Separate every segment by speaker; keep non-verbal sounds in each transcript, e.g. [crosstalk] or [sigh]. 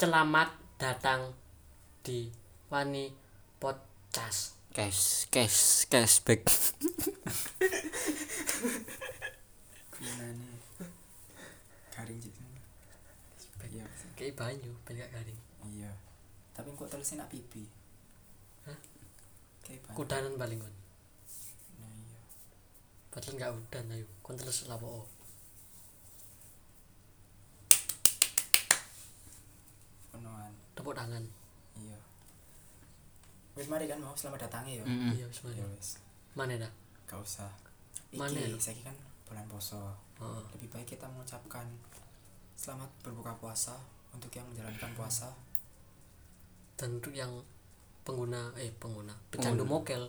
Speaker 1: Selamat datang di Wani Podcast.
Speaker 2: cash cash cashback
Speaker 3: Gimana? Garing sih. Iya. sih.
Speaker 1: Kayak banyu, ben gak garing.
Speaker 3: Iya. Tapi kok tulisnya nak pipi?
Speaker 1: Hah?
Speaker 3: Kayak banyak.
Speaker 1: Kudanan paling kon.
Speaker 3: Nah, iya.
Speaker 1: Padahal gak udan ayo. Kon terus lapo.
Speaker 3: Penuhan.
Speaker 1: Tepuk tangan.
Speaker 3: Iya. Wis mari kan mau selamat datangnya ya.
Speaker 1: Iya wis mari.
Speaker 3: Ya wis.
Speaker 1: Mana dah?
Speaker 3: Gak usah.
Speaker 1: Mana ya?
Speaker 3: Iki saiki kan bulan poso.
Speaker 1: Heeh.
Speaker 3: Lebih baik kita mengucapkan selamat berbuka puasa untuk yang menjalankan puasa.
Speaker 1: Dan untuk yang pengguna eh pengguna pecandu mokel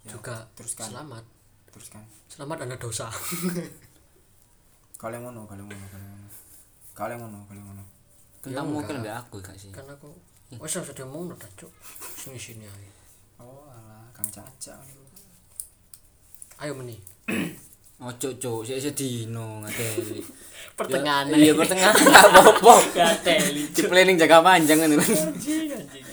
Speaker 3: Ya,
Speaker 1: juga
Speaker 3: teruskan.
Speaker 1: selamat.
Speaker 3: Teruskan.
Speaker 1: Selamat Anda dosa.
Speaker 3: Kalian ngono, kalian ngono, kalian ngono. Kalian ngono, kalian ngono.
Speaker 2: tentang
Speaker 1: Iya,
Speaker 2: mungkin
Speaker 1: enggak.
Speaker 2: mbak aku gak sih
Speaker 1: kan aku wis sudah diomong udah cuk. Sini-sini ae.
Speaker 3: Oh, alah, Kang Caca niku.
Speaker 1: Ayo meni.
Speaker 2: ojo cuk sik sedino [laughs] ngateli
Speaker 1: Pertengahan.
Speaker 2: iya
Speaker 1: [laughs]
Speaker 2: pertengahan gak apa-apa
Speaker 1: Gateli.
Speaker 2: di planning jangka panjang kan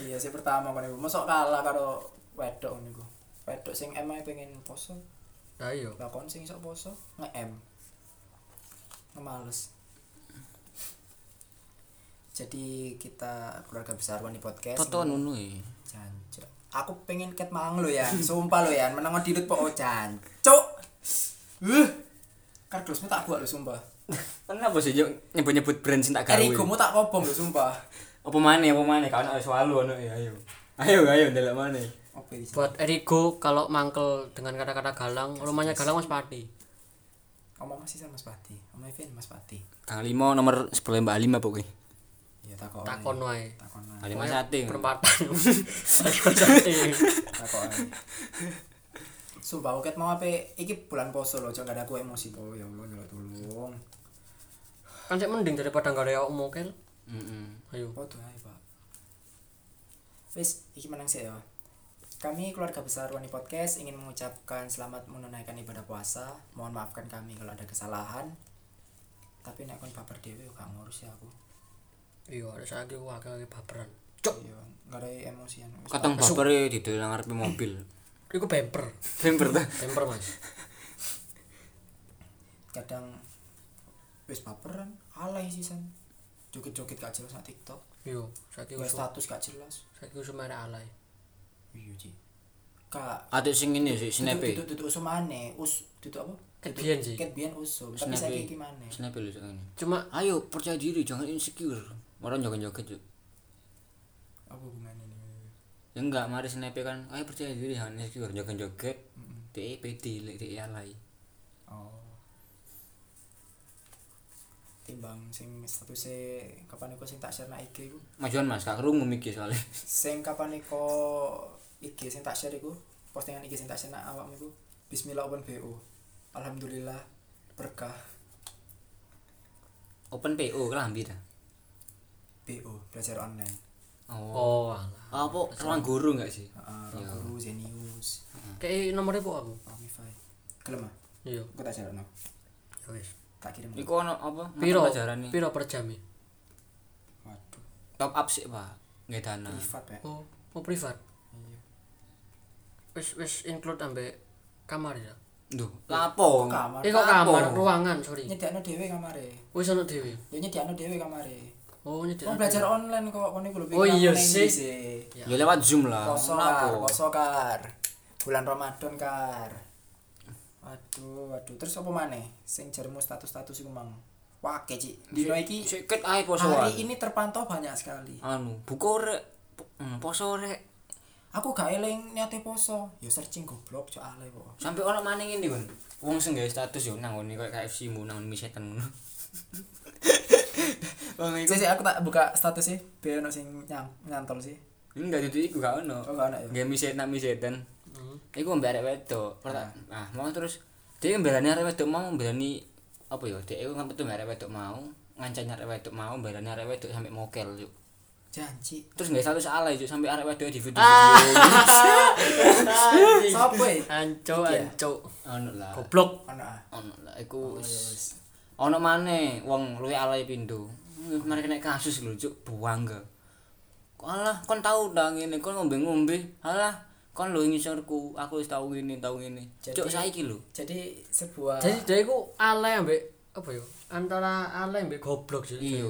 Speaker 3: Iya, sing pertama kan niku. Mosok kalah karo wedok niku. Wedok sing M ae pengen poso,
Speaker 1: Lah iya.
Speaker 3: lah kon sing iso poso nge-M. Ngemales. Jadi kita keluarga besar Wani Podcast.
Speaker 2: toto nunu ya
Speaker 3: Jancuk. Aku pengen ket mang lo ya, sumpah lo ya, menang di po oh jancuk. Uh. Kardusmu tak buat lo sumpah.
Speaker 2: kenapa sih Cuk? nyebut-nyebut brand sing tak gawe
Speaker 3: Erigomu tak kobong lo sumpah.
Speaker 2: apa mana apa mana kau nak selalu ono ya ayo ayo ayo ndelok mana
Speaker 3: Oke. di sini.
Speaker 1: Buat Erigo kalau mangkel dengan kata-kata galang, rumahnya galang Mas Pati.
Speaker 3: Omong masih sama Mas Pati. Omong Evin Mas Pati.
Speaker 2: Kang Limo nomor sebelah Mbak Lima pokoknya
Speaker 3: Iya takon.
Speaker 1: Takon wae.
Speaker 3: Takon.
Speaker 2: Kang Limo sate
Speaker 1: perempatan [laughs] Aduh, sate
Speaker 3: Takon. Sumpah aku ket mau apa? Iki bulan poso lo, jangan ada aku emosi po. Ya Allah, nyolot tolong.
Speaker 1: kan sih mending daripada nggak ada yang mokel
Speaker 2: Mm-mm.
Speaker 1: ayo
Speaker 3: Apa tuh ae, Pak? Wis, iki menang sih ya. Kami keluarga besar Wani Podcast ingin mengucapkan selamat menunaikan ibadah puasa. Mohon maafkan kami kalau ada kesalahan. Tapi nek kon baper dhewe yo gak ngurus ya aku.
Speaker 1: iya ada lagi wah lagi baperan cok
Speaker 3: Iya, gak ada emosian. Wis,
Speaker 2: katong baper ya di dalam ngarepe mobil
Speaker 1: itu bemper
Speaker 2: bemper ta
Speaker 1: bemper mas
Speaker 3: kadang wis baperan, alay sisan. Joget-joget gak jelas nak TikTok.
Speaker 1: iyo saya
Speaker 3: Yo
Speaker 1: kira saya
Speaker 3: status gak jelas.
Speaker 1: kira cuma ada alay
Speaker 3: Iya, Ci. Kak
Speaker 2: Adik sing ini sih
Speaker 3: Tutup
Speaker 2: snape.
Speaker 3: tutup usum aneh, us tutup apa?
Speaker 1: Ket biyen, Ci.
Speaker 3: Ket biyen usum, tapi
Speaker 2: Snape.
Speaker 3: saiki iki maneh.
Speaker 2: Snape lu ini.
Speaker 1: cuma
Speaker 2: Ayo percaya diri jangan insecure. Orang joget-joget yuk.
Speaker 3: Apa hubungannya ini?
Speaker 2: Ya enggak, mari snape kan. Ayo percaya diri jangan insecure, joget-joget. DE PD lek DE alay.
Speaker 3: Oh. Timbang sing statuse kapan iku sing tak share nak IG iku.
Speaker 2: Majuan Mas, gak krungu mikir soalnya. [laughs]
Speaker 3: Sing kapan iku IG sing tak share iku, postingan IG sing tak share nak awakmu iku. Bismillah open BO. Alhamdulillah berkah
Speaker 2: Open PO kelambi ta.
Speaker 3: BO belajar online.
Speaker 2: Oh.
Speaker 1: oh alah
Speaker 2: Apa ruang guru enggak sih?
Speaker 3: Heeh,
Speaker 2: Iya.
Speaker 3: guru Zenius,
Speaker 1: kayak nomornya apa kamu
Speaker 3: Amify. Gelem ah.
Speaker 1: iyo
Speaker 3: Aku tak share no.
Speaker 1: ya wis
Speaker 3: Tak kirim. no.
Speaker 2: Iku ono apa? mata
Speaker 1: piro
Speaker 2: pelajaran nih.
Speaker 1: piro per jam ya?
Speaker 3: Waduh,
Speaker 2: Top up sih, Pak. Nggak dana.
Speaker 3: privat ya.
Speaker 1: oh oh privat
Speaker 3: Iya.
Speaker 1: wis wis include ambek kamar ya
Speaker 2: Duh, lapo?
Speaker 3: Kok kamar?
Speaker 1: eh kok kamar ruangan sorry Oh,
Speaker 3: Nyediakno dhewe kamare.
Speaker 1: wis ono dewi
Speaker 3: Yo nyediakno dhewe kamare.
Speaker 1: oh
Speaker 3: Mau
Speaker 1: nyetir
Speaker 3: belajar online kok kono iku lho.
Speaker 1: Oh iya sih.
Speaker 3: pengen sih.
Speaker 2: Ya lewat Zoom lah.
Speaker 3: Poso kar,
Speaker 2: Lapo?
Speaker 3: poso kar. Bulan Ramadan kar. Waduh, waduh. Terus apa maneh? Sing jarmu status-status iku mang. Wake, Cik. Dino iki
Speaker 2: Siket ae posoan.
Speaker 3: hari ini terpantau banyak sekali.
Speaker 2: Anu, buku rek. Po- hmm, Poso rek.
Speaker 3: Aku gak eling niate poso. Ya searching goblok cok ale kok.
Speaker 2: sampai orang mana ini kan wong sing gawe status yo nang ngene koyo KFC mu nang mie setan ngono [laughs] wong
Speaker 1: Nah,
Speaker 2: iku
Speaker 3: Sih, sih, aku tak buka status sih. Biar ono sing nyang- nyantol sih.
Speaker 2: enggak jadi iku gak ono
Speaker 3: Oh, gak ono ya?
Speaker 2: gawe mie setan mie setan iku mbak arek wedok Perta- nah mau terus dia mberani arek wedok mau mberani apa ya dia iku ngempet mbak arek wedok mau ngancani arek wedok mau mberani arek wedok sampai mokel yuk
Speaker 3: Janji.
Speaker 2: terus nggak status alay yuk sampai arek wedok di video
Speaker 1: Ah.
Speaker 2: video
Speaker 1: [laughs] Iya.
Speaker 3: Sopo e?
Speaker 1: anco
Speaker 3: Iki ya?
Speaker 1: anco
Speaker 2: ono lah
Speaker 1: goblok
Speaker 3: Ono ah.
Speaker 2: ono lah iku ono mana wong luwe alay pindo Wih, mereka kena kasus lho cuk buang ke alah kon tahu dah ngene kon ngombe ngombe alah kon lho ngisorku aku wis tahu ngene tahu ngene cuk
Speaker 3: Jadi-
Speaker 2: saiki lho
Speaker 3: jadi sebuah
Speaker 1: jadi dia itu alay ambek apa ya antara alay ambek goblok sih
Speaker 2: iya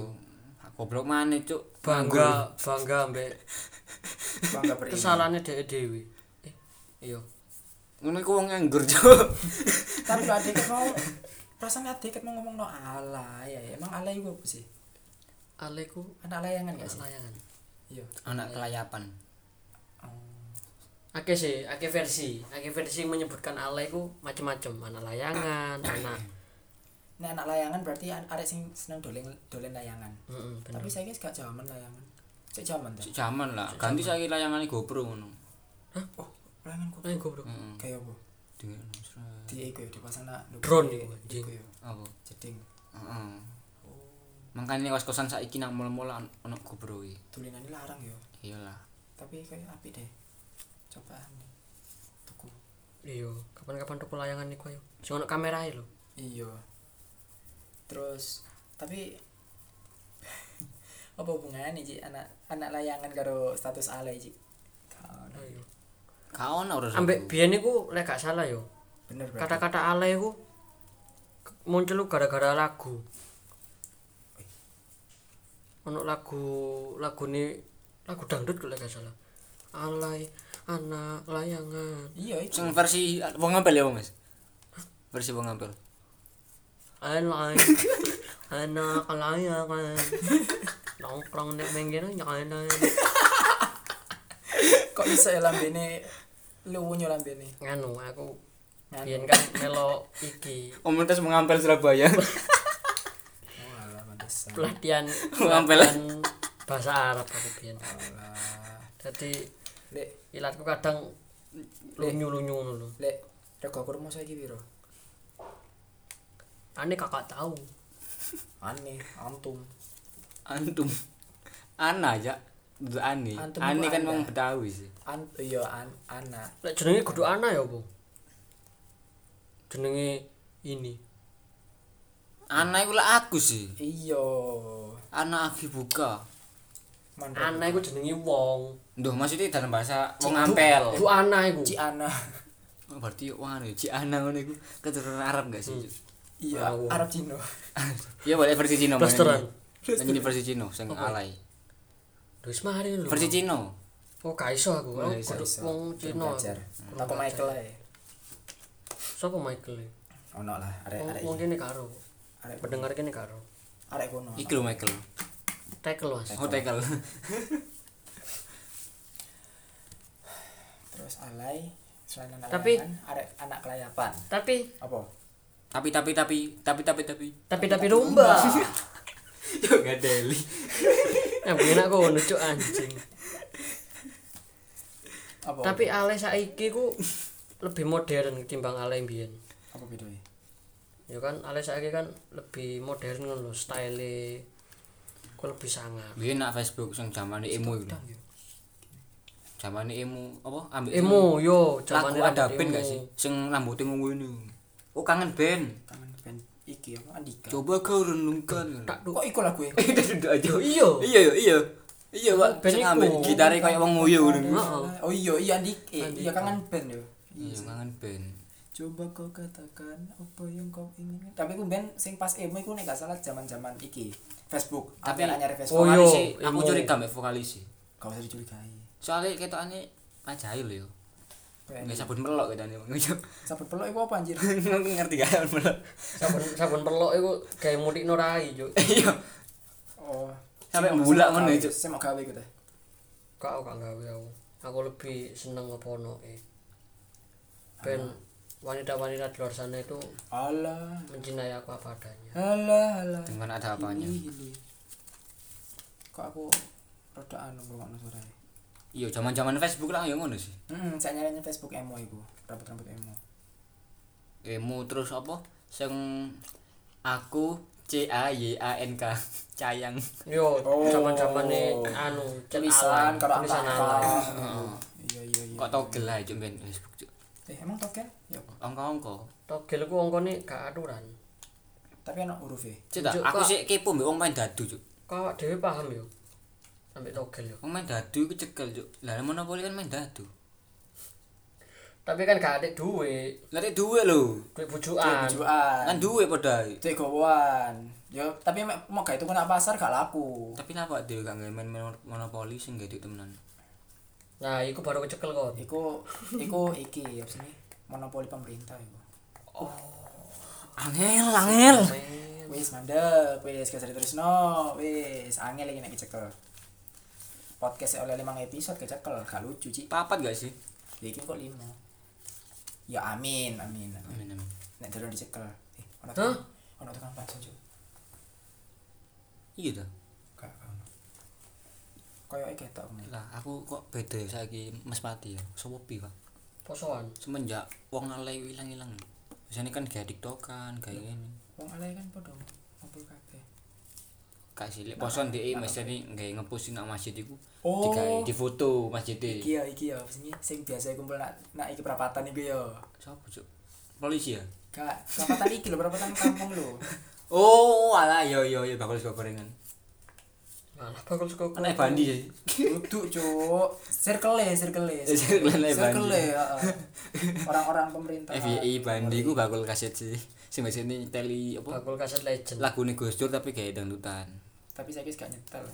Speaker 2: goblok maneh cuk
Speaker 1: bangga bangga ambek
Speaker 3: bangga beriman.
Speaker 1: kesalahannya dia dewi eh iya
Speaker 2: ngono iku wong nganggur cuk
Speaker 3: tapi lo adik mau perasaan adik mau ngomong no alay ya emang alay gue apa sih
Speaker 1: alay ku
Speaker 3: anak layangan gak sih
Speaker 1: layangan
Speaker 3: iya
Speaker 2: [laughs] anak kelayapan
Speaker 3: Oh.
Speaker 1: Oke sih, oke versi, oke versi menyebutkan alay ku macam-macam, anak
Speaker 3: [coughs]
Speaker 1: layangan, anak,
Speaker 3: nah anak layangan berarti an- arek sing seneng dolen dolen layangan
Speaker 1: Mm-mm, bener.
Speaker 3: tapi saya guys gak zaman layangan cek zaman tuh
Speaker 2: Cuk, jaman lah ganti saiki layangane GoPro ngono
Speaker 3: oh layangan gue
Speaker 1: Eh, goblok.
Speaker 2: heeh
Speaker 3: kayak apa
Speaker 2: dengan seret.
Speaker 3: di ego ya dipasang nak
Speaker 1: Drone
Speaker 3: di
Speaker 1: iku, anjing.
Speaker 3: ego ya
Speaker 2: apa
Speaker 3: jeding
Speaker 2: heeh makanya kos-kosan saiki nang mall-mall an- ono GoPro iki
Speaker 3: tulinan larang ya
Speaker 2: iyalah
Speaker 3: tapi kayak api deh coba nih tuku
Speaker 1: Iya, kapan-kapan tuku layangan iku ayo. Sing ono kamerae lho.
Speaker 3: iya terus tapi apa hubungannya Ci? anak anak layangan karo status alay Ci? Gak ono.
Speaker 1: Ayo.
Speaker 2: gak ono urusan
Speaker 1: Ambek biyen iku lek gak salah yo.
Speaker 3: bener berarti
Speaker 1: Kata-kata alay ku ke- muncul gara-gara lagu. Ono lagu lagune lagu dangdut kalau gak salah. Alay anak layangan.
Speaker 3: iya itu
Speaker 2: sing versi wong ngampel ya Mas versi wong ngampel
Speaker 1: Alay anak layangan. Nongkrong nek menggene nyanyi.
Speaker 3: kok bisa ya lambene luwunya lambene
Speaker 1: Nganu aku
Speaker 3: Nganu.
Speaker 1: biyen kan melo iki
Speaker 2: komunitas mengampel [laughs] Surabaya
Speaker 3: oh alah pantesan
Speaker 1: pelatihan
Speaker 2: Ngampel.
Speaker 1: pelatihan bahasa Arab aku biyen.
Speaker 3: alah
Speaker 1: Jadi
Speaker 3: lek
Speaker 1: ilatku kadang lunyu-lunyu ngono lho.
Speaker 3: lek rego kurma saiki piro
Speaker 1: Ane kakak tahu.
Speaker 3: aneh antum
Speaker 2: antum ana aja Dudu ani
Speaker 3: Antum
Speaker 2: ani
Speaker 3: itu
Speaker 2: kan
Speaker 3: Ana.
Speaker 2: wong betawi sih
Speaker 3: an iya an anak
Speaker 1: Lek jenenge kudu ana ya apa? Jenenge ini.
Speaker 2: ana iku lah aku sih
Speaker 3: iya
Speaker 2: ana aki buka
Speaker 3: mandor
Speaker 1: Ana iku jenenge wong.
Speaker 2: Duh, maksudnya dalam bahasa wong ngampel.
Speaker 1: Ku ana iku.
Speaker 3: ci ana
Speaker 2: Oh, berarti wong anu Ci Ana ngono iku keturunan Arab gak sih? Cuk?
Speaker 3: [laughs]
Speaker 2: [laughs]
Speaker 3: iya
Speaker 1: Wow.
Speaker 3: arab cino
Speaker 2: Iya, boleh versi Cina.
Speaker 1: Blasteran.
Speaker 2: Ini versi Cina sing alay.
Speaker 1: Wis mari lho.
Speaker 2: Versi Cina.
Speaker 1: Oh, gak iso aku. Aku
Speaker 2: Gak iso,
Speaker 1: kudu
Speaker 3: iso.
Speaker 1: wong Cina.
Speaker 3: Belum belajar.
Speaker 1: aku.
Speaker 3: Toko
Speaker 1: Belum
Speaker 3: Michael
Speaker 1: belajar.
Speaker 3: ae.
Speaker 1: Sopo Michael? ya?
Speaker 3: Ono lah, arek
Speaker 1: Wong
Speaker 3: Eh, arek.
Speaker 1: wong kene karo.
Speaker 3: Arek
Speaker 1: Pendengar kene karo.
Speaker 3: arek kono.
Speaker 2: Iki lho Michael.
Speaker 1: Tackle Mas.
Speaker 2: Oh, tekel.
Speaker 3: Terus alay selain anak
Speaker 1: Tapi-
Speaker 3: layangan, arek anak kelayapan.
Speaker 1: Tapi
Speaker 3: Apa?
Speaker 2: [laughs] tapi tapi tapi tapi tapi tapi.
Speaker 1: tapi tapi
Speaker 3: [laughs]
Speaker 1: domba.
Speaker 2: [laughs] Yo gak deli.
Speaker 1: Ya ben aku nucuk anjing.
Speaker 3: Apa?
Speaker 1: Tapi ale saiki ku lebih modern ketimbang ale biyen.
Speaker 3: apa bedanya?
Speaker 1: Ya kan ale saiki kan lebih modern kan lho style ku lebih sangar.
Speaker 2: Biyen nak Facebook sing zamane emo iku. Zamane emo apa? Ambek
Speaker 1: Emo yo
Speaker 2: Lagu
Speaker 1: jamane
Speaker 2: ada
Speaker 1: rambut
Speaker 2: band
Speaker 1: emo.
Speaker 2: gak sih? Sing rambutnya ngene. Oh, kangen band.
Speaker 3: Kangen band iki apa Andika.
Speaker 2: Coba kau renungkan.
Speaker 1: Tak duh.
Speaker 3: Kok iku lagu e?
Speaker 2: Itu [laughs] duduk aja.
Speaker 1: Iya.
Speaker 2: Iya iya iya. Iya, Pak.
Speaker 1: Ben
Speaker 2: Sing
Speaker 1: iku.
Speaker 2: ambil gitare koyo wong nguyu ngono.
Speaker 1: Heeh.
Speaker 3: Oh iya, iya Andika. Eh, Iya kangen band yo.
Speaker 2: Iya, mangan ben.
Speaker 3: Coba kau katakan apa yang kau inginkan. Tapi ku band sing pas emo iku nek gak salah zaman-zaman iki. Facebook. Tapi anak nyari
Speaker 1: Oh,
Speaker 3: Facebook.
Speaker 1: iya.
Speaker 2: Vokalis sih, aku
Speaker 1: Emo.
Speaker 2: curiga mbek vokalis sih.
Speaker 3: Kau usah dicurigai.
Speaker 2: Soale ketokane ajail yo.
Speaker 3: Kayak
Speaker 2: Nggak sabun melok ketokane.
Speaker 3: Sabun peluk iku apa anjir?
Speaker 2: [laughs] Ngerti gak sabun melok?
Speaker 1: Sabun sabun perlok iku gawe mudik norai yo.
Speaker 2: Iya.
Speaker 3: Oh.
Speaker 2: Sampai
Speaker 3: Saya mau-
Speaker 2: bulak
Speaker 3: saya mau
Speaker 2: ngono
Speaker 3: gawe.
Speaker 2: ya, Cuk.
Speaker 3: Saya mau gawe iku teh.
Speaker 1: Kak aku gak gawe aku. Aku lebih seneng ngono e. Ben wanita-wanita di luar sana itu
Speaker 3: Alah.
Speaker 1: mencintai aku apa adanya.
Speaker 3: Alah, alah.
Speaker 2: Dengan ada apanya?
Speaker 3: Hili, hili. gitu. Kok aku rada anu ngrungokno suarane.
Speaker 2: Iya, zaman-zaman Facebook lah yo ngono sih.
Speaker 3: Heeh, saya nyarinya Facebook emo iku, rambut-rambut emo.
Speaker 2: Emu terus apa? Sing aku C A Y A N K. [laughs] Cayang.
Speaker 1: Yo,
Speaker 3: Oh.
Speaker 1: zaman-zamane anu cek alay,
Speaker 3: Tulisan karo
Speaker 1: tulisan
Speaker 3: angka-angka.
Speaker 1: alay.
Speaker 3: Heeh. Iya, iya, iya.
Speaker 2: Kok togel ae cuk ben Facebook cuk.
Speaker 3: Eh, emang token? Ya, Pak.
Speaker 2: Angka-angka.
Speaker 1: Togel ku ongkone gak aturan.
Speaker 3: tapi ana huruf e.
Speaker 2: Cuk, tak,
Speaker 1: Cuk,
Speaker 2: aku
Speaker 1: kok-
Speaker 2: sih kepo mbek wong main dadu cuk.
Speaker 1: kau awak dhewe paham yo ambek togel yo
Speaker 2: Wong main dadu iku cekel, Cuk. Lah monopoli kan main dadu.
Speaker 1: tapi kan gak ada duit
Speaker 2: Lah nek duwe lho.
Speaker 1: duit
Speaker 3: Duit
Speaker 1: bujukan
Speaker 3: bujukan.
Speaker 2: Kan duwe padha ae.
Speaker 3: Duit e gowoan. Yo, tapi mek- mau gak itu kena pasar gak laku.
Speaker 2: Tapi lah Pak dhewe gak main monopoli sing gak duit temenan.
Speaker 1: nah iku baru kecekel kon
Speaker 3: Iku iku iki apa sini? Monopoli pemerintah iku.
Speaker 2: Angel, angel.
Speaker 1: Men.
Speaker 3: Wis mandek, wis gak usah diterusno, wis angel iki nek dicekel. Podcast e oleh 5 episode kecekel, gak lucu, Ci.
Speaker 2: Papat gak sih?
Speaker 3: Ya iki kok 5. Ya amin, amin. amin.
Speaker 2: Amin amin.
Speaker 3: Nek delon dicekel. Eh, ono
Speaker 1: Hah?
Speaker 3: tukang- ono tukang bakso, Cuk.
Speaker 2: Iya toh.
Speaker 3: Gak gak ono. Koyoke ketok. Bang.
Speaker 2: Lah aku kok beda ya saiki Mas Pati ya. Sopo pi, Pak?
Speaker 1: posoan
Speaker 2: Semenjak wong alay ilang-ilang. Biasanya kan gak diktokan, gak ngene.
Speaker 3: Wong alay kan podo ngumpul kabeh.
Speaker 2: Kak Silik poson di masjid ini nggak ngepusin nak masjid itu
Speaker 3: Oh.
Speaker 2: digawe di foto masjid e. itu
Speaker 3: Iki ya, iki ya, sing sing biasa kumpul nak nak iki perapatan iku ya.
Speaker 2: siapa cuk polisi ya
Speaker 3: Kak, perapatan iki lho, perapatan kampung lho.
Speaker 2: oh alah yo yo yo bakal sego gorengan
Speaker 1: malah bakul suka
Speaker 2: kan naik bandi sih
Speaker 3: Duduk, Cuk. Circle ya, circle ya.
Speaker 2: Eh, circle ya,
Speaker 3: Circle
Speaker 2: Bandi.
Speaker 3: ya, heeh. Orang-orang pemerintah.
Speaker 2: FYI Eh, iya, bandi ku bakal kaset sih sing biasa ini teli apa
Speaker 1: bakul kaset legend
Speaker 2: lagu nih Gus Dur tapi kayak dangdutan
Speaker 3: Tapi saya gak nyetel.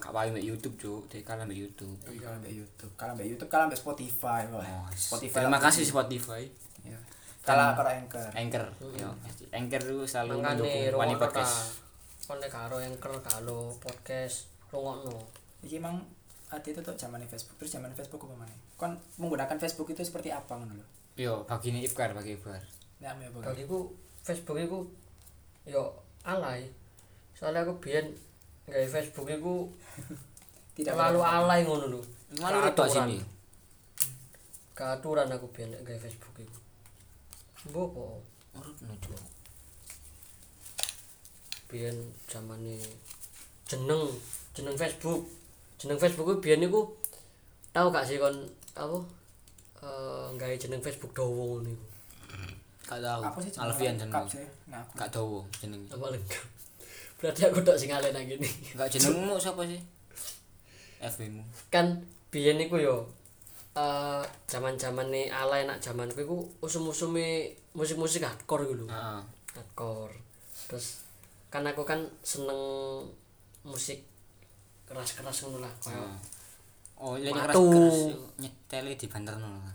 Speaker 2: kak paling mbak YouTube cuk dia kalah mbak YouTube
Speaker 3: Iya, kalau mbak YouTube, kalau mbak YouTube, kalau mbak Spotify, wah.
Speaker 2: Oh,
Speaker 3: Spotify.
Speaker 2: terima
Speaker 3: lah.
Speaker 2: kasih Eh. Spotify
Speaker 3: Iya. Kalau kalau Anchor.
Speaker 2: Anchor yo pasti. Anchor tuh selalu
Speaker 1: mangane
Speaker 2: mendukung Wani
Speaker 1: rungokno ta
Speaker 2: Podcast
Speaker 1: kon nek karo yang ker karo podcast rungokno
Speaker 3: Iki emang ada itu tuh zaman Facebook terus zaman Facebook apa mana? Kon menggunakan Facebook itu seperti apa ngono lho?
Speaker 2: yo bagi ini Ibkar bagi Ibkar
Speaker 3: Nek ame apa?
Speaker 1: bagiku Facebook iku yo alay soalnya aku biyen gawe Facebook iku
Speaker 3: Tidak
Speaker 1: terlalu
Speaker 3: menggunakan.
Speaker 1: alay ngono lho
Speaker 2: malu retok
Speaker 1: Peraturan.
Speaker 2: sini
Speaker 1: keaturan aku biyen nek gawe Facebook iku mbok apa
Speaker 2: urut nuju
Speaker 1: biyen zamane jeneng jeneng Facebook jeneng Facebook ku biyen iku tau gak sih kon apa eh gawe jeneng Facebook dowo ngono iku
Speaker 2: Gak tahu.
Speaker 3: Apa sih jeneng
Speaker 2: Alfian
Speaker 3: lengkap
Speaker 2: jeneng.
Speaker 3: sih? Nah, aku.
Speaker 2: Gak tahu jeneng.
Speaker 1: apa lengkap [laughs] berarti aku tok sing alay nang kene [laughs]
Speaker 2: Gak jenengmu siapa sih? FB-mu.
Speaker 1: kan biyen iku yo eh zaman-zaman nih ala enak zaman ku iku usum-usume musik-musik hardcore gitu lho.
Speaker 2: Heeh.
Speaker 1: hardcore. Terus kan aku kan seneng musik keras-keras ngono lah kayak
Speaker 2: Heeh. ah. Oh, ini
Speaker 1: iya. Watu.
Speaker 2: keras keras nyetele di banter no. Iya.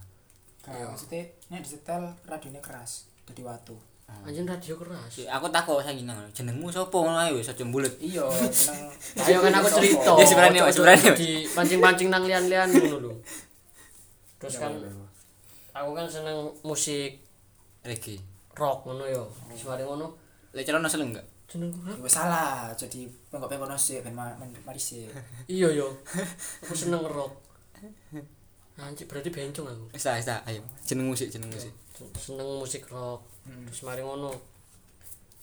Speaker 3: Kayak maksudnya, ini disetel radionya keras, jadi watu.
Speaker 1: anjing radio keras.
Speaker 2: Si, aku takut saiki nang jenengmu sapa ngono ae wis aja mbulet. [laughs]
Speaker 3: Iya, seneng.
Speaker 1: Ayo kan
Speaker 3: [laughs]
Speaker 1: aku cerita.
Speaker 2: Ya, sebenarnya,
Speaker 1: Ojo-ojo
Speaker 2: sebenarnya.
Speaker 1: Di pancing-pancing nang lian-lian ngono lho. Terus kan
Speaker 3: Iya,
Speaker 1: aku kan seneng musik
Speaker 2: Regi.
Speaker 1: rock ngono yo. Suara ngono
Speaker 2: Lek cerono seleng enggak?
Speaker 1: jenengku hah?
Speaker 3: Gue iya. salah, jadi penggok penggok nasi, ben kan ma- men- mari sih.
Speaker 1: Iya yo. Aku seneng rock. Anjir berarti bencong aku.
Speaker 2: Wis ta, wis ta, ayo. Jenengmu sik, jenengmu sik.
Speaker 1: seneng musik rock
Speaker 3: Hmm.
Speaker 1: terus mari ngono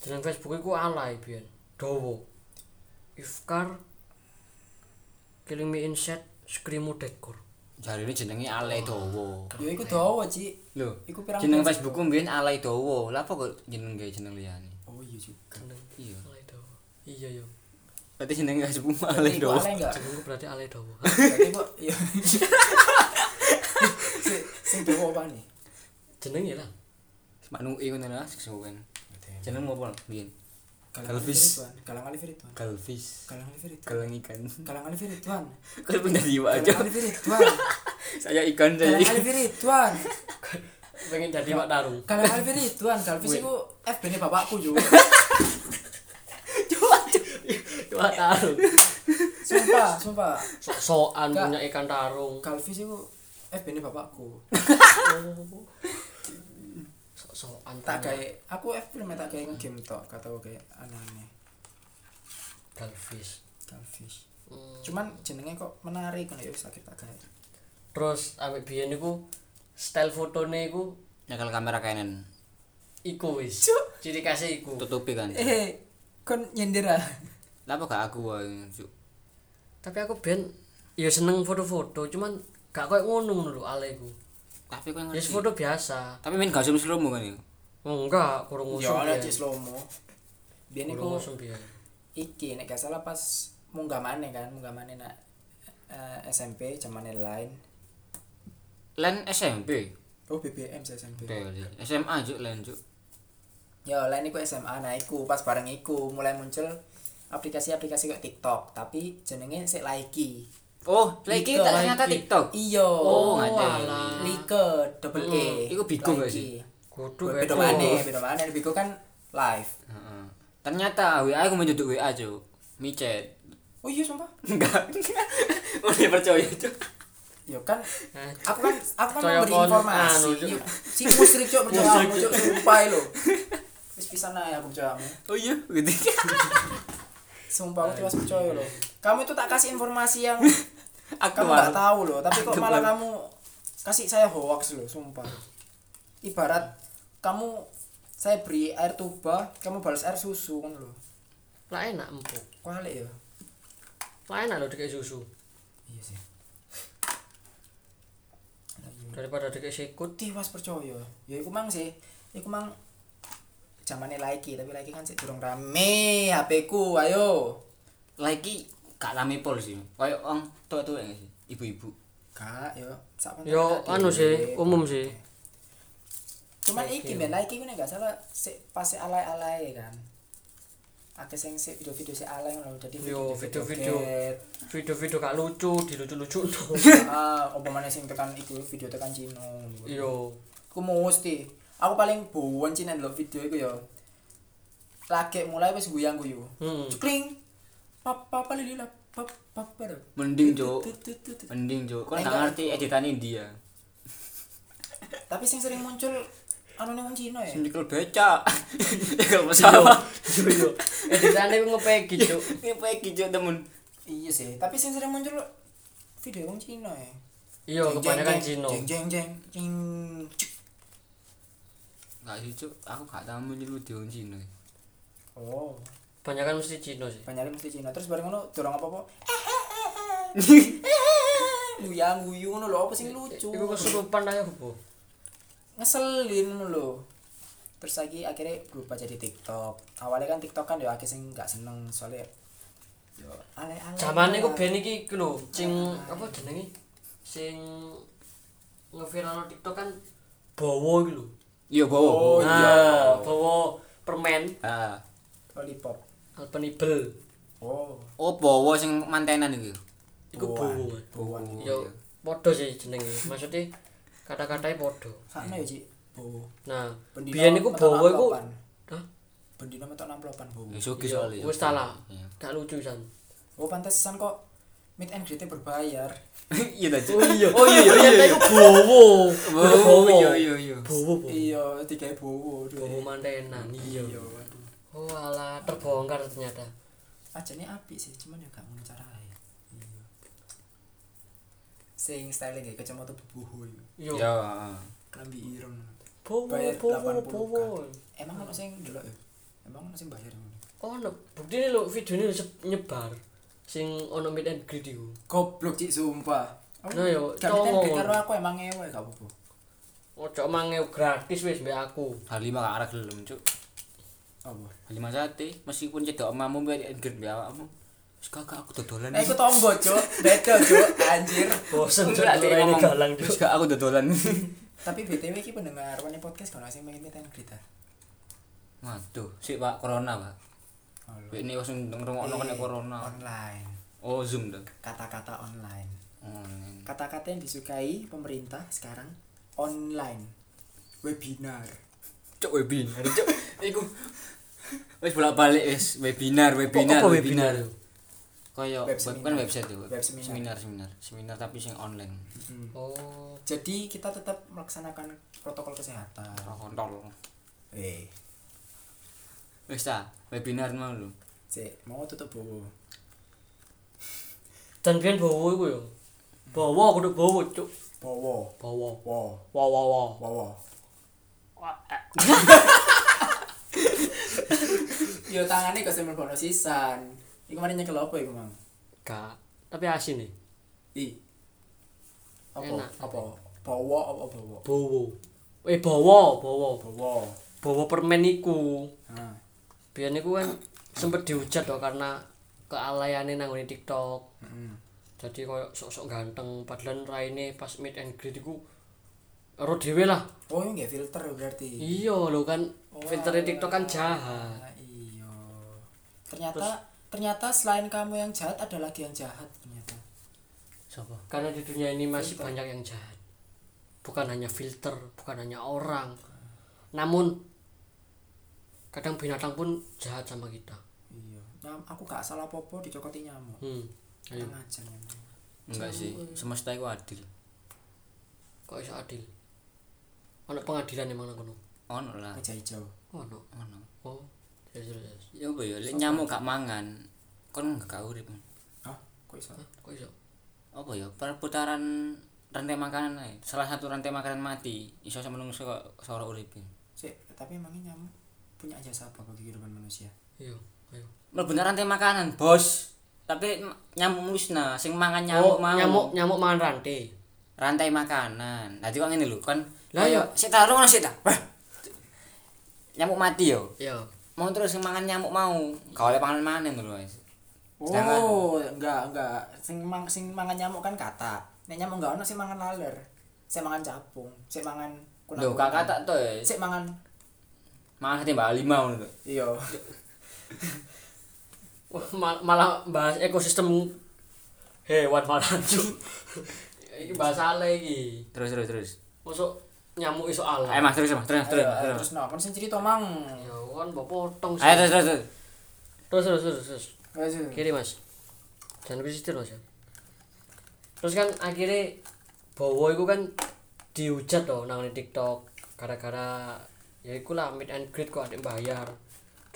Speaker 1: jeneng Facebook iku alay biyen dowo ifkar killing me inside skrimu dekor
Speaker 2: Jarine jenenge Alay Dowo.
Speaker 3: Yo, iku doa Ci.
Speaker 2: Lho,
Speaker 3: Iku pirang
Speaker 2: jeneng Facebookku mbiyen Alay Dowo. Lah apa kok jeneng gawe jeneng liyane?
Speaker 3: Oh iya juga.
Speaker 1: jeneng
Speaker 2: Iya.
Speaker 1: alay dowo iya yo
Speaker 2: Berarti jenenge Facebookmu Alay
Speaker 3: Iku
Speaker 2: Dowo.
Speaker 3: alay enggak?
Speaker 1: jenengku berarti alay dowo
Speaker 3: Berarti kok [laughs] iya. Si- Sing doa apa nih?
Speaker 1: jeneng ya lah
Speaker 2: Manuke e ngono lah, sesuwen. Jenengmu apa mbiyen? Galvis.
Speaker 3: Galvis. Galang Alif Ridwan.
Speaker 2: Galvis. kan.
Speaker 3: Galang Alif Ridwan.
Speaker 2: Galang [laughs] ikan.
Speaker 3: Galang Alif Ridwan.
Speaker 2: Kau pindah jiwa aja.
Speaker 3: Galang Alif Ridwan.
Speaker 2: Saya ikan saya
Speaker 3: Galang
Speaker 2: ikan.
Speaker 3: Alif Ridwan.
Speaker 1: pengen jadi pak
Speaker 3: [laughs]
Speaker 1: tarung
Speaker 3: Galang Alif Ridwan. Galvis iku FB ne bapakku yo.
Speaker 1: pak tarung
Speaker 3: Sumpah, sumpah.
Speaker 1: sokan punya ikan [laughs] tarung
Speaker 3: Galvis iku FB ne bapakku.
Speaker 1: sok sokan
Speaker 3: Tak gawe aku FB ne tak gawe ngegame tok, gak tau gawe aneh-aneh.
Speaker 1: galvis
Speaker 3: Galvis.
Speaker 1: Hmm.
Speaker 3: Cuman jenenge kok menarik kan ya sakit tak gawe.
Speaker 1: terus awake biyen iku style fotone iku
Speaker 2: Nyekel kamera kanan.
Speaker 1: iku wis ciri khasnya iku
Speaker 2: Tutupi kan.
Speaker 3: Eh, kon nyender ah.
Speaker 2: Lapa gak aku wae. Cuk.
Speaker 1: tapi aku ben ya seneng foto-foto cuman gak koyo ngono ngono lho ale iku
Speaker 2: Tapi kau
Speaker 1: ya yes,
Speaker 2: ngerti.
Speaker 1: foto biasa Oh,
Speaker 2: Tapi main gak usah slow kan itu.
Speaker 1: enggak kurang
Speaker 3: Ya
Speaker 2: Oh,
Speaker 1: usum
Speaker 3: ana
Speaker 1: biyen
Speaker 3: di slow mo. Biyen
Speaker 1: kurang
Speaker 3: iku
Speaker 1: usum biyen
Speaker 3: iki nek gak salah pas munggah maneh kan munggah maneh nak eh, SMP zaman lain
Speaker 2: Len SMP.
Speaker 3: oh BBM sih SMP
Speaker 2: Beli. SMA juk ya, len juk.
Speaker 3: Ya, lain iku SMA, nah iku pas bareng iku mulai muncul aplikasi-aplikasi kayak TikTok, tapi jenenge sik Laiki.
Speaker 2: Oh, lagi
Speaker 3: Like,
Speaker 2: ternyata
Speaker 3: like.
Speaker 2: TikTok.
Speaker 3: Iya.
Speaker 2: Oh,
Speaker 1: Oh,
Speaker 2: ada.
Speaker 1: alah.
Speaker 3: Like double E.
Speaker 2: Hmm, iku Bigo gak
Speaker 3: Laiki.
Speaker 2: sih?
Speaker 1: Kudu
Speaker 3: Beda
Speaker 1: betul.
Speaker 3: mana, beda mana Bigo kan live.
Speaker 2: Heeh. Ternyata WA aku menjuduk WA juk. Micet. [laughs]
Speaker 3: Oh iya sumpah.
Speaker 2: Enggak. Mau percaya juk.
Speaker 3: Ya kan
Speaker 1: Nah,
Speaker 2: Eh,
Speaker 3: aku kan aku kan
Speaker 1: Coyo
Speaker 3: memberi
Speaker 1: kon-
Speaker 3: informasi.
Speaker 1: anu, Cuk.
Speaker 3: Iya. Si musrik
Speaker 2: [laughs]
Speaker 3: cok percaya aku cok sumpah lo. Wis pisan ae aku percaya kamu.
Speaker 2: Oh iya, [laughs] gitu.
Speaker 3: Sumpah aku tiwas percaya lo. Kamu itu tak kasih informasi yang
Speaker 2: [laughs] Aku
Speaker 3: kamu nggak
Speaker 2: malah.
Speaker 3: tahu loh tapi kok
Speaker 2: Aku
Speaker 3: malah
Speaker 2: baru-
Speaker 3: kamu kasih saya hoax loh sumpah ibarat kamu saya beri air tuba kamu balas air susu kan loh
Speaker 1: lah enak empuk.
Speaker 3: kualik ya
Speaker 1: Lah enak lho dikek susu
Speaker 3: iya sih Hmm.
Speaker 1: daripada dikek sikut.
Speaker 3: tiwas percaya ya iku mang sih iku mang zamane laiki tapi laiki kan sih durung rame HP ku ayo
Speaker 2: Lagi gak rame pol sih. Kayak orang tua-tua nggak sih, ibu-ibu.
Speaker 3: kak yo sak kon-
Speaker 1: Yo
Speaker 3: kak,
Speaker 1: anu
Speaker 3: dhewe.
Speaker 1: sih, umum sih.
Speaker 3: cuman iki ben laiki ku nek gak salah sik pas sik alay-alay kan akeh sing sik video-video sik alay ngono dadi
Speaker 1: Yo, video-video. [laughs]
Speaker 3: get.
Speaker 1: Video-video gak lucu, dilucu-lucu.
Speaker 3: [laughs] ah apa mana sing tekan iku video tekan Cino
Speaker 1: Yo,
Speaker 3: aku mau mesti aku paling buan Cina dulu video iku yo lagi mulai wis guyang guyu
Speaker 1: hmm.
Speaker 3: cukling papa papa lila papa papa do.
Speaker 2: Mending juk.
Speaker 3: Tut, tut, tut, tut.
Speaker 2: Mending juk. Kau
Speaker 3: Ayo,
Speaker 2: nggak
Speaker 3: Kak.
Speaker 2: ngerti editannya dia.
Speaker 3: tapi sing sering muncul anu nih wong Cina ya
Speaker 2: Sendikel becak. [laughs] Sendikel pesawat.
Speaker 1: Yo yo. Editane ngepegi, Cuk.
Speaker 2: Ini pakai hijau temen.
Speaker 3: iya sih tapi sing sering muncul video wong Cina ya
Speaker 1: Iya,
Speaker 3: Jeng, jeng,
Speaker 1: kebanyakan
Speaker 3: jeng,
Speaker 1: Cino.
Speaker 3: jeng jeng jeng jeng cuk.
Speaker 2: Gak sih Cuk. aku gak tahu menyebut di orang Cina.
Speaker 3: oh
Speaker 1: Kebanyakan mesti Cino sih.
Speaker 3: banyak mesti Cina terus bareng ngono dorong apa
Speaker 1: [laughs]
Speaker 3: apa guyang guyu ngono lho apa sing lucu
Speaker 1: Iku kesurupan aja bu.
Speaker 3: ngeselin lo terus lagi akhirnya berubah jadi TikTok awalnya kan TikTok kan ya akhirnya sing nggak seneng soalnya yo ale ale
Speaker 1: Zaman iku ben iki iku lho, sing apa jenenge? Sing ngeviralno TikTok kan Bowo iku lho.
Speaker 2: Iya bawa.
Speaker 3: Oh,
Speaker 2: bawa.
Speaker 1: Nah, Bowo permen
Speaker 2: Ah.
Speaker 3: lollipop
Speaker 1: Alpenibel.
Speaker 3: oh
Speaker 2: Oh bawa sing mantenan itu.
Speaker 1: Iku Bowo.
Speaker 3: buan
Speaker 2: Bowo.
Speaker 1: Yo padha sih jenenge. Maksudnya kata-katanya padha.
Speaker 3: sana ya cik bu
Speaker 1: Nah, biyen iku Bowo iku Hah?
Speaker 3: bendino metok enam puluhan bu
Speaker 2: Ya suki
Speaker 1: Iya,
Speaker 2: soalnya.
Speaker 1: wis salah.
Speaker 2: Iya. [laughs]
Speaker 1: gak lucu san.
Speaker 3: oh pantesan kok meet and greet berbayar
Speaker 2: Iya dah Cuk.
Speaker 1: iya.
Speaker 2: [laughs]
Speaker 1: Oh iya, ternyata iku Bowo. Oh, Bener,
Speaker 2: Bawa. Iya iya iya.
Speaker 1: Bowo. Bowo.
Speaker 3: iya tiga bu
Speaker 1: Bowo mantenan. Iya.
Speaker 3: iya waduh
Speaker 1: Oh alah, terbongkar ternyata.
Speaker 3: ajane apik sih cuman ya gak ngono carane iya sing styling ya kacamata bubuh iku
Speaker 1: Yo.
Speaker 2: Ya.
Speaker 3: klambi ireng
Speaker 1: Bowo,
Speaker 3: Bayar
Speaker 1: bowo,
Speaker 3: 80
Speaker 1: bowo.
Speaker 3: emang ono sing delok ya emang ono sing bayar ngono
Speaker 1: Oh, no. bukti ini lo videonya lo sep- nyebar sing ono meet and greet iku.
Speaker 3: goblok cik sumpah
Speaker 1: Nah, ya,
Speaker 3: Oh, gak minta
Speaker 1: cowok.
Speaker 3: duit karo aku emang ngewe gak apa-apa
Speaker 1: Ojo mangeu gratis wis mbek aku.
Speaker 2: Halima gak arah gelem Cuk.
Speaker 3: apa
Speaker 2: Halima sate meskipun cedok omamu mbek engger mbek awakmu. Wis kakak aku dodolan.
Speaker 3: eh iku tombo cuk beda cuk anjir
Speaker 1: Bosen
Speaker 2: Enggak,
Speaker 1: jek
Speaker 2: Cuk,
Speaker 1: ini
Speaker 2: ngomong.
Speaker 1: galang
Speaker 2: Wis
Speaker 1: Cuk.
Speaker 2: gak aku dodolan. [laughs]
Speaker 3: tapi btw iki pendengar wani podcast kan sing pengen meet and greet ah
Speaker 2: Waduh, sik Pak Corona, Pak. Wek ini langsung ngrungokno kena corona.
Speaker 3: online
Speaker 2: Oh, Zoom dong.
Speaker 3: kata-kata online
Speaker 2: Oh, ini.
Speaker 3: kata-kata yang disukai pemerintah sekarang online webinar
Speaker 2: Cok webinar, cok. Iku wis bolak-balik wis webinar, webinar,
Speaker 1: Apa webinar?
Speaker 2: Kayak
Speaker 3: Web
Speaker 2: web-
Speaker 3: seminar.
Speaker 2: kan website tuh.
Speaker 3: Web seminar.
Speaker 2: seminar, seminar. Seminar tapi sing online.
Speaker 1: Oh,
Speaker 3: jadi kita tetap melaksanakan protokol kesehatan
Speaker 2: Kontrol.
Speaker 3: eh
Speaker 2: Wis ta, webinar mau lu.
Speaker 3: Cek, mau tutup bu
Speaker 1: dan biyen bowo iku yo. Bowo kudu bowo cuk.
Speaker 3: bowo
Speaker 1: Hmm. Bowo.
Speaker 3: wo
Speaker 1: Wow wow wow.
Speaker 3: wowo
Speaker 1: Wah, eh.
Speaker 3: [laughs] yo tangannya kau sembel bono sisan iku mana nyekel apa iku mang
Speaker 1: Gak. Tapi asin nih.
Speaker 3: i apa
Speaker 1: Enak.
Speaker 3: apa bowo apa bowo
Speaker 1: Bowo. Eh bowo, bowo.
Speaker 3: bowo
Speaker 1: Bowo permen iku.
Speaker 3: ah
Speaker 1: Biyen iku kan sempet dihujat loh karena kealayannya nanggone TikTok. Jadi koyo sok-sok ganteng padahal raine pas meet and greet iku ero dhewe lah.
Speaker 3: Oh, ini nggak filter berarti.
Speaker 1: Iya lho kan filternya TikTok kan jahat.
Speaker 3: Ah, iya. Ternyata ternyata selain kamu yang jahat ada lagi yang jahat ternyata.
Speaker 2: Siapa?
Speaker 1: Karena di dunia ini masih banyak yang jahat. Bukan hanya filter, bukan hanya orang. Namun kadang binatang pun jahat sama kita.
Speaker 3: Iya. Nah, aku gak salah popo dicokoti nyamuk.
Speaker 1: Hmm. Ayo,
Speaker 3: Tenang aja nyamuk.
Speaker 2: Enggak sih, semesta iku adil.
Speaker 1: kok iso adil? Ono pengadilan emang nang kono.
Speaker 2: Ono lah.
Speaker 3: Meja hijau.
Speaker 1: Ono.
Speaker 2: Ono.
Speaker 1: Oh. Terus terus.
Speaker 2: Ya apa ya, lek nyamuk gak mangan, kon gak gak urip.
Speaker 3: Hah? Kok iso?
Speaker 1: Hah, Kok iso?
Speaker 2: Apa ya, perputaran rantai makanan ae. Salah satu rantai makanan mati, iso sama menungso kok sora uripe.
Speaker 3: Sik, tapi emangnya nyamuk punya jasa apa bagi kehidupan manusia?
Speaker 1: Iya, ayo.
Speaker 2: Mlebu nang rantai makanan, Bos. Tapi nyamuk musnah, sing mangan nyamuk
Speaker 1: Oh,
Speaker 2: mau.
Speaker 1: nyamuk nyamuk mangan rantai.
Speaker 2: rantai makanan. Nah, Nanti kok ngene lho, kon.
Speaker 1: Lah,
Speaker 2: Lah iya. yo,
Speaker 1: ya.
Speaker 2: sik taruh ngono sik ta. Wah. Nyamuk mati yo.
Speaker 1: Iya.
Speaker 2: Mau terus sing mangan nyamuk mau. Gak oleh pangan manen lho, guys. Jangan.
Speaker 3: Oh, enggak, enggak. Sing mang sing mangan nyamuk kan kata. Nek nyamuk enggak ono sing mangan laler. Sing mangan capung, sing mangan
Speaker 2: Lho, kakak tak to ya.
Speaker 3: Sik mangan
Speaker 2: Mangan sate Mbak Lima ngono to.
Speaker 3: iya.
Speaker 1: Wah, mal- malah bahas ekosistem hewan malah [laughs] cuk. Iki bahas ale iki.
Speaker 2: Terus terus terus.
Speaker 1: Masuk nyamuk iso ala.
Speaker 2: Ayo Mas, terus Mas, terus
Speaker 3: Ayo,
Speaker 2: terus.
Speaker 3: ayo,
Speaker 2: terus.
Speaker 3: Terus no, kon sing cerita mang.
Speaker 1: Ya kan mbok potong sih.
Speaker 2: Ayo terus terus. terus.
Speaker 1: Terus terus terus. terus.
Speaker 3: Wes, wes.
Speaker 1: Kiri Mas. Jangan lebih sitir Mas. ya. Terus kan akhirnya Bowo itu kan dihujat loh nang di TikTok gara-gara ya ikulah meet and greet kok ada yang bayar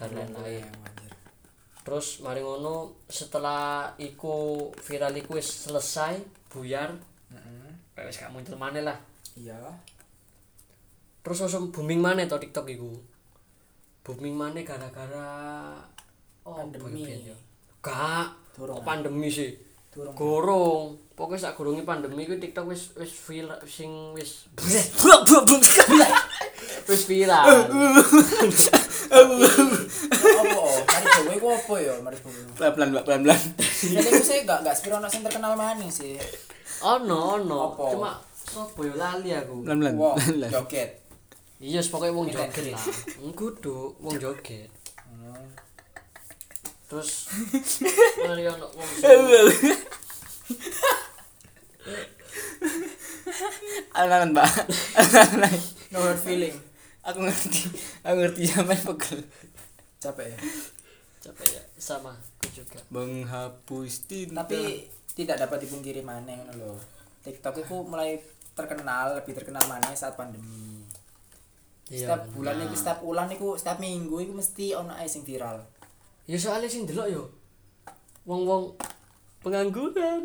Speaker 1: dan lain-lain.
Speaker 3: Iya, anjir.
Speaker 1: Terus mari ngono setelah iku viral iku wis selesai buyar
Speaker 3: Mm-mm.
Speaker 1: kayak wis gak muncul maneh lah.
Speaker 3: Iya.
Speaker 1: Terus langsung booming maneh to TikTok iku. Booming maneh gara-gara oh,
Speaker 3: Pandemi.
Speaker 1: boy band ya. Gak,
Speaker 3: Durung.
Speaker 1: kok pandemi sih.
Speaker 3: Durung.
Speaker 1: Gorong. Pokoknya sak gorongnya pandemi iku TikTok wis wis viral sing wis [laughs] wis
Speaker 3: [laughs]
Speaker 1: viral.
Speaker 3: Apa? oh? Mari kowe iku apa ya? Mari kowe.
Speaker 2: Pelan-pelan, Mbak, pelan-pelan.
Speaker 3: Jadi aku sih gak gak sepiro ono sing terkenal maning sih.
Speaker 1: Ono ono.
Speaker 3: Apa?
Speaker 1: Cuma sopo yo lali aku.
Speaker 2: Pelan-pelan,
Speaker 3: Wong
Speaker 2: pelan-pelan.
Speaker 3: joget.
Speaker 1: Iya, pokoknya wong
Speaker 3: Meet and
Speaker 1: joget
Speaker 3: greet.
Speaker 1: lah. Kudu wong joget.
Speaker 3: Hmm. [laughs]
Speaker 1: terus mari ono wong sing-
Speaker 2: Alan, Mbak. [laughs]
Speaker 3: No hard feeling.
Speaker 2: Aku ngerti. Aku ngerti sampean pegel.
Speaker 3: Capek ya.
Speaker 1: capek ya sama aku juga
Speaker 2: Menghapus tinta.
Speaker 3: Tapi tidak dapat dipungkiri maning ngono lho. TikTok itu mulai terkenal, lebih terkenal maning saat pandemi.
Speaker 1: iya
Speaker 3: setiap bulan itu setiap bulan itu setiap minggu itu mesti ono ae sing viral.
Speaker 1: ya soalnya sing delok yo wong wong
Speaker 3: [laughs]
Speaker 1: pengangguran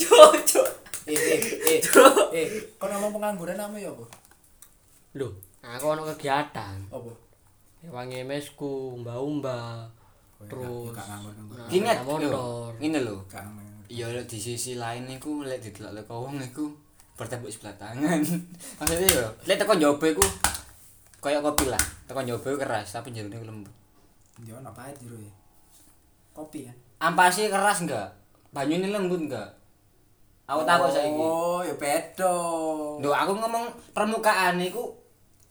Speaker 1: cocok
Speaker 3: Eh eh
Speaker 2: [laughs]
Speaker 3: eh. eh, kok ngomong pengangguran kamu ya, Bu?
Speaker 1: lho aku ono kegiatan
Speaker 3: Apa?
Speaker 1: wangi mesku mbak umba
Speaker 3: Terus
Speaker 1: Oh, terus
Speaker 3: gak nganggur nganggur.
Speaker 1: nah,
Speaker 2: Gini
Speaker 1: ada
Speaker 2: lho,
Speaker 1: motor
Speaker 2: ngene lho.
Speaker 3: Gak nganggur.
Speaker 2: Ya lho, di sisi lain niku lek didelok lek wong niku bertepuk sebelah tangan. [laughs] Maksudnya yo, lek teko njobo iku koyo kopi lah. Teko njobo iku keras tapi jerone iku lembut.
Speaker 3: Dia ono pahit jero ya. Kopi kan.
Speaker 2: Ampasnya keras enggak? Banyune lembut enggak? Aku takut saiki.
Speaker 3: Oh, ya bedo.
Speaker 2: Duh, aku ngomong permukaan niku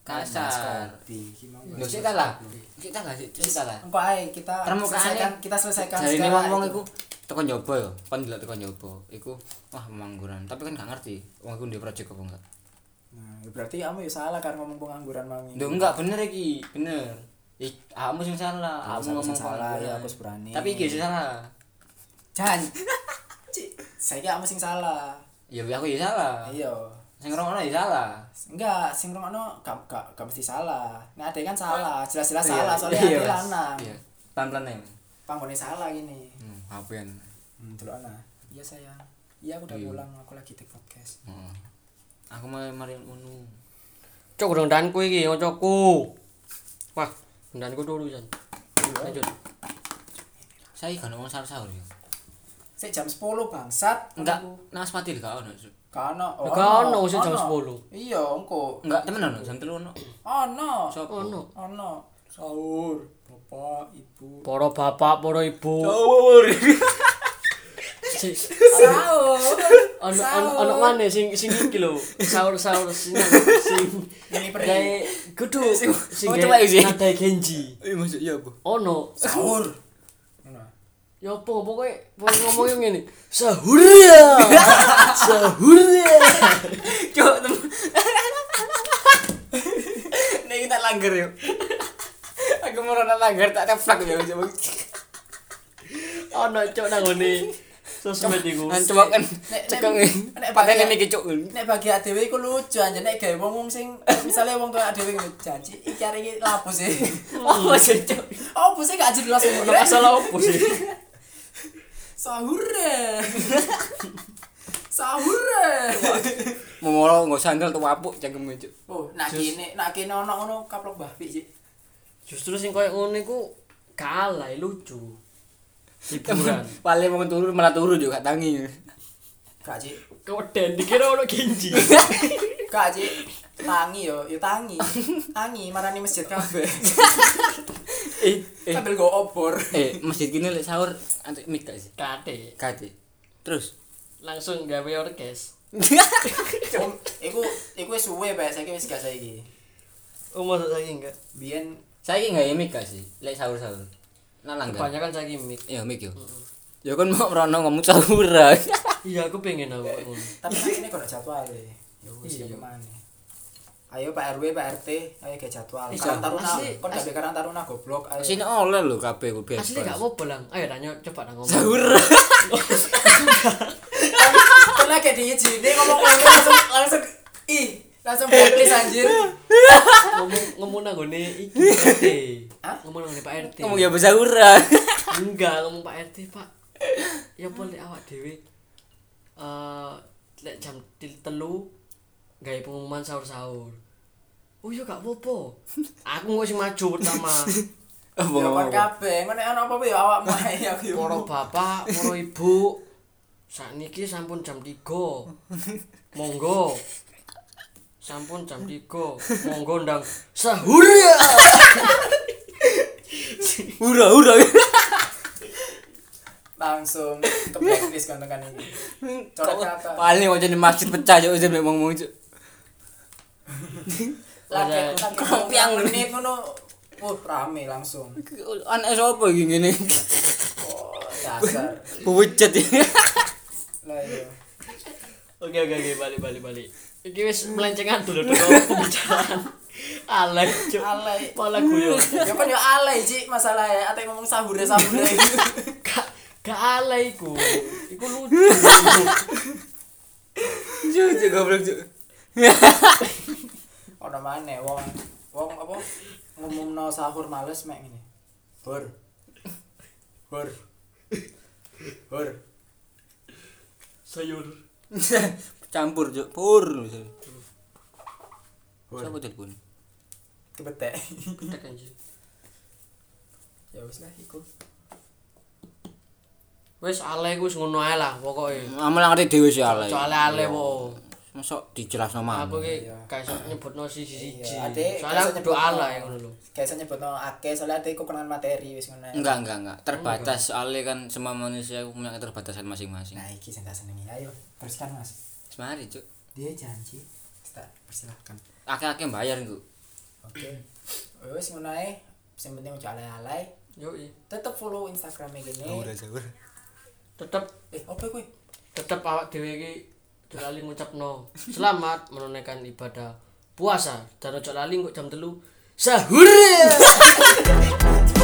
Speaker 2: kasar.
Speaker 3: Kopi iki mau.
Speaker 2: Duh, sik ta lah. Sik ta gak sik? Sik ta lah.
Speaker 3: Engko ae kita
Speaker 2: Permukaannya-
Speaker 3: selesaikan kita selesaikan
Speaker 2: Jarine
Speaker 3: segala
Speaker 2: wong-wong
Speaker 3: itu.
Speaker 2: iku tekan nyoba ya, kon ndelok tekan nyoba. Iku wah mangguran, tapi kan gak ngerti wong iku ndek project apa enggak.
Speaker 3: Nah, ya berarti kamu ya salah kan ngomong pengangguran mau ini.
Speaker 2: Duh, enggak bener iki, bener. Ik, kamu sing salah,
Speaker 3: Aku
Speaker 2: kamu ngomong
Speaker 3: sing salah,
Speaker 2: pengangguran.
Speaker 3: ya aku seberani.
Speaker 2: Tapi iki sing salah.
Speaker 3: Jan. Saya kamu sing salah.
Speaker 2: Ya aku ya salah.
Speaker 3: Ayo.
Speaker 2: Sing ngrungokno ya salah.
Speaker 3: Enggak, sing rungokno gak gak gak mesti salah. Nek ade kan salah, jelas-jelas
Speaker 2: Iya,
Speaker 3: salah soalnya
Speaker 2: iya,
Speaker 3: ade
Speaker 2: Mas.
Speaker 3: lanang.
Speaker 2: Iya. Pelan-pelan ya.
Speaker 3: Panggone salah gini.
Speaker 2: Hmm, apian.
Speaker 3: Hmm, delok ana. Iya sayang. Iya aku udah pulang, aku lagi take podcast.
Speaker 2: Heeh. Hmm. Aku mau mari ngono.
Speaker 1: cok dong danku iki ngocokku wah danku dulu Jan. lanjut
Speaker 2: Saya kan ngomong sahur-sahur ya.
Speaker 3: Sik jam 10 bangsat.
Speaker 2: Enggak, nas pati gak ono. Su.
Speaker 3: Kano.
Speaker 1: Lah, gak ono, sik jam 10.
Speaker 3: Iya, engko.
Speaker 2: Enggak, temen ono jam 3 ono.
Speaker 3: Ono.
Speaker 1: Oh,
Speaker 2: Sopo?
Speaker 1: ono
Speaker 3: Ono. sahur bapak ibu
Speaker 1: Poro bapak, poro ibu.
Speaker 2: Sahur. [laughs]
Speaker 1: Si-
Speaker 3: [laughs]
Speaker 1: [laughs]
Speaker 3: sahur
Speaker 1: Ono ono ono mana sing sing iki lho. Sahur-sahur sing sing
Speaker 3: ini pergi
Speaker 1: gawe kudu sing
Speaker 2: oh,
Speaker 1: gawe
Speaker 2: coba isi.
Speaker 1: ngadai Genji.
Speaker 2: Eh maksud ya apa?
Speaker 1: Ono Oh,
Speaker 3: sahur
Speaker 1: Ya apa pokoknya pokoknya ngomongnya ngene. Sahur ya. [laughs] Sahur ya.
Speaker 2: Cok temen. Nek kita langgar yuk. Aku mau orang langgar tak teplak ya coba.
Speaker 1: Ono Oh, cok nang ngene. Sosmed iku.
Speaker 2: Kan coba kan
Speaker 3: Nek-
Speaker 2: cekeng.
Speaker 3: nek- nek-
Speaker 2: Paten ini kecok.
Speaker 3: nek bagi adewe iku lucu aja nek gawe wong wong sing misalnya wong tua adewe iku janji iki arek iki lapo sih
Speaker 1: Oh, Hmm.
Speaker 2: Apa
Speaker 1: [laughs]
Speaker 2: sih cok?
Speaker 3: opo sih gak jelas ngono
Speaker 1: Masalah opo sih?
Speaker 3: sahur eh. sahur eh.
Speaker 2: Mau ngolo nggak sandal tuh wapuk cengkem cok.
Speaker 3: oh nak kene nak kene ono ono kaplok babi sih
Speaker 1: Justru sing koyo ngono iku kalah lucu. Hiburan.
Speaker 2: Paling mau turun malah turun juga gak tangi.
Speaker 3: gak sih
Speaker 1: [laughs] Keweden dikira ono [laughs] Genji.
Speaker 3: gak sih tangi yo yo tangi tangi marani masjid kabeh
Speaker 2: Eh eh
Speaker 3: sambil go obor
Speaker 2: eh masjid kini lek sahur antuk mik gak sih?
Speaker 1: Kate
Speaker 2: Kati. [laughs] Terus.
Speaker 1: langsung gawe orkes.
Speaker 3: Om, iku iku wis suwe bae saiki wis gak saiki
Speaker 1: Oh masa saiki enggak?
Speaker 3: biyen
Speaker 2: Saya ini nggak mik gak sih? Lek sahur sahur. Nah langgar.
Speaker 1: Kebanyakan saiki mic.
Speaker 2: Iya mik yo. Ya kan mau merono ngomong sahur.
Speaker 1: Iya aku pengen aku ngono.
Speaker 3: tapi nak kene kono jadwal e yo wis
Speaker 1: Iya.
Speaker 3: yo kemane ayo Pak RW Pak RT ayo ke jadwal
Speaker 2: Iya.
Speaker 3: Karang Taruna
Speaker 1: Asli-
Speaker 3: kon gak be Karang Taruna goblok ayo
Speaker 2: Sini oleh lho kabeh ku bebas.
Speaker 1: Asli gak apa-apa lang. Ayo tanya coba nang ngomong. [laughs]
Speaker 2: Sahur.
Speaker 3: Karena kayak di sini ngomong ngomong langsung langsung ih langsung blacklist anjir.
Speaker 1: Ngomong ngomong nang ngene iki Pak RT.
Speaker 3: Hah?
Speaker 1: Ngomong nang ngene Pak RT.
Speaker 2: Ngomong ya
Speaker 1: [laughs]
Speaker 2: bersahura.
Speaker 1: Enggak ngomong Pak RT, Pak. Ya apa lek awak dhewe eh lek jam til- telu gawe pengumuman sahur-sahur. Oh iya gak apa-apa. Aku mau sing maju pertama.
Speaker 2: Apa
Speaker 3: Ya kon
Speaker 2: ngomong?
Speaker 3: kabeh ngono ana apa-apa ya awakmu ae aku yo.
Speaker 1: Moro bapak, moro ibu. Sakniki sampun jam 3. Monggo. Sampun jam 3. Monggo ndang sahur [laughs] ya.
Speaker 2: Hura hura.
Speaker 3: Langsung ke blacklist kan kan ini. Coret kata.
Speaker 2: Paling kok jadi masjid pecah yo jadi ngomong ngomong.
Speaker 3: Lagi
Speaker 1: Ada-
Speaker 3: lagi
Speaker 2: Keropiang.
Speaker 3: menit ngono. Oh rame langsung.
Speaker 2: Anak sapa iki ngene?
Speaker 3: Oh dasar.
Speaker 2: Pucet.
Speaker 3: Lah iya. yo.
Speaker 1: Oke oke oke balik balik balik. Iki wis melencengan dulu [laughs] dulu pembicaraan. Alek, cuk.
Speaker 3: Alay.
Speaker 1: Malah guyon.
Speaker 3: Ya kan yo alay Ci masalahe ate ngomong sahure sahure.
Speaker 1: Gak gak alay iku. Iku lucu.
Speaker 2: Jujur goblok juk.
Speaker 3: Ono maneh wong wong apa ngomongno sahur males mek ngene. Bur. Bur. Bur.
Speaker 1: Sayur.
Speaker 2: [laughs] Campur juk. Pur.
Speaker 3: Pur.
Speaker 2: Siapa telepon?
Speaker 3: [laughs] kebetek
Speaker 1: Petek anjir.
Speaker 3: ya wis lah iku
Speaker 1: Wis alay iku wis ngono ae lah pokoke.
Speaker 2: Amal ngerti Iya. dhewe sih alay.
Speaker 1: Soalnya alay po.
Speaker 2: Masuk dijelasno mah.
Speaker 1: Aku ki
Speaker 3: Iya.
Speaker 1: gak iso nyebutno siji-siji.
Speaker 3: Iya, adek gak
Speaker 1: Soalnya
Speaker 3: iso
Speaker 1: aku
Speaker 3: nyebutno.
Speaker 1: doa lah ngono lho.
Speaker 3: kayak nyebutno akeh soalnya ate kekurangan materi wis ngono
Speaker 2: Enggak, enggak, enggak. Terbatas soalnya kan semua manusia punya keterbatasan masing-masing.
Speaker 3: nah iki sing tak senengi ayo teruskan mas
Speaker 2: Semari, Cuk.
Speaker 3: dia janji kita persilahkan
Speaker 2: Akeh-akeh bayar iku.
Speaker 3: oke oh wis ngono ae sing penting ojo alay-alay
Speaker 1: Yo i. Tetep
Speaker 3: tetep follow instagramnya gini
Speaker 2: sahur.
Speaker 1: tetep
Speaker 3: eh opo kuwi
Speaker 1: tetep awak dhewe iki ojo lali ngucapno. Selamat menunaikan ibadah puasa. Dan ojo lali kok jam 3 sahur.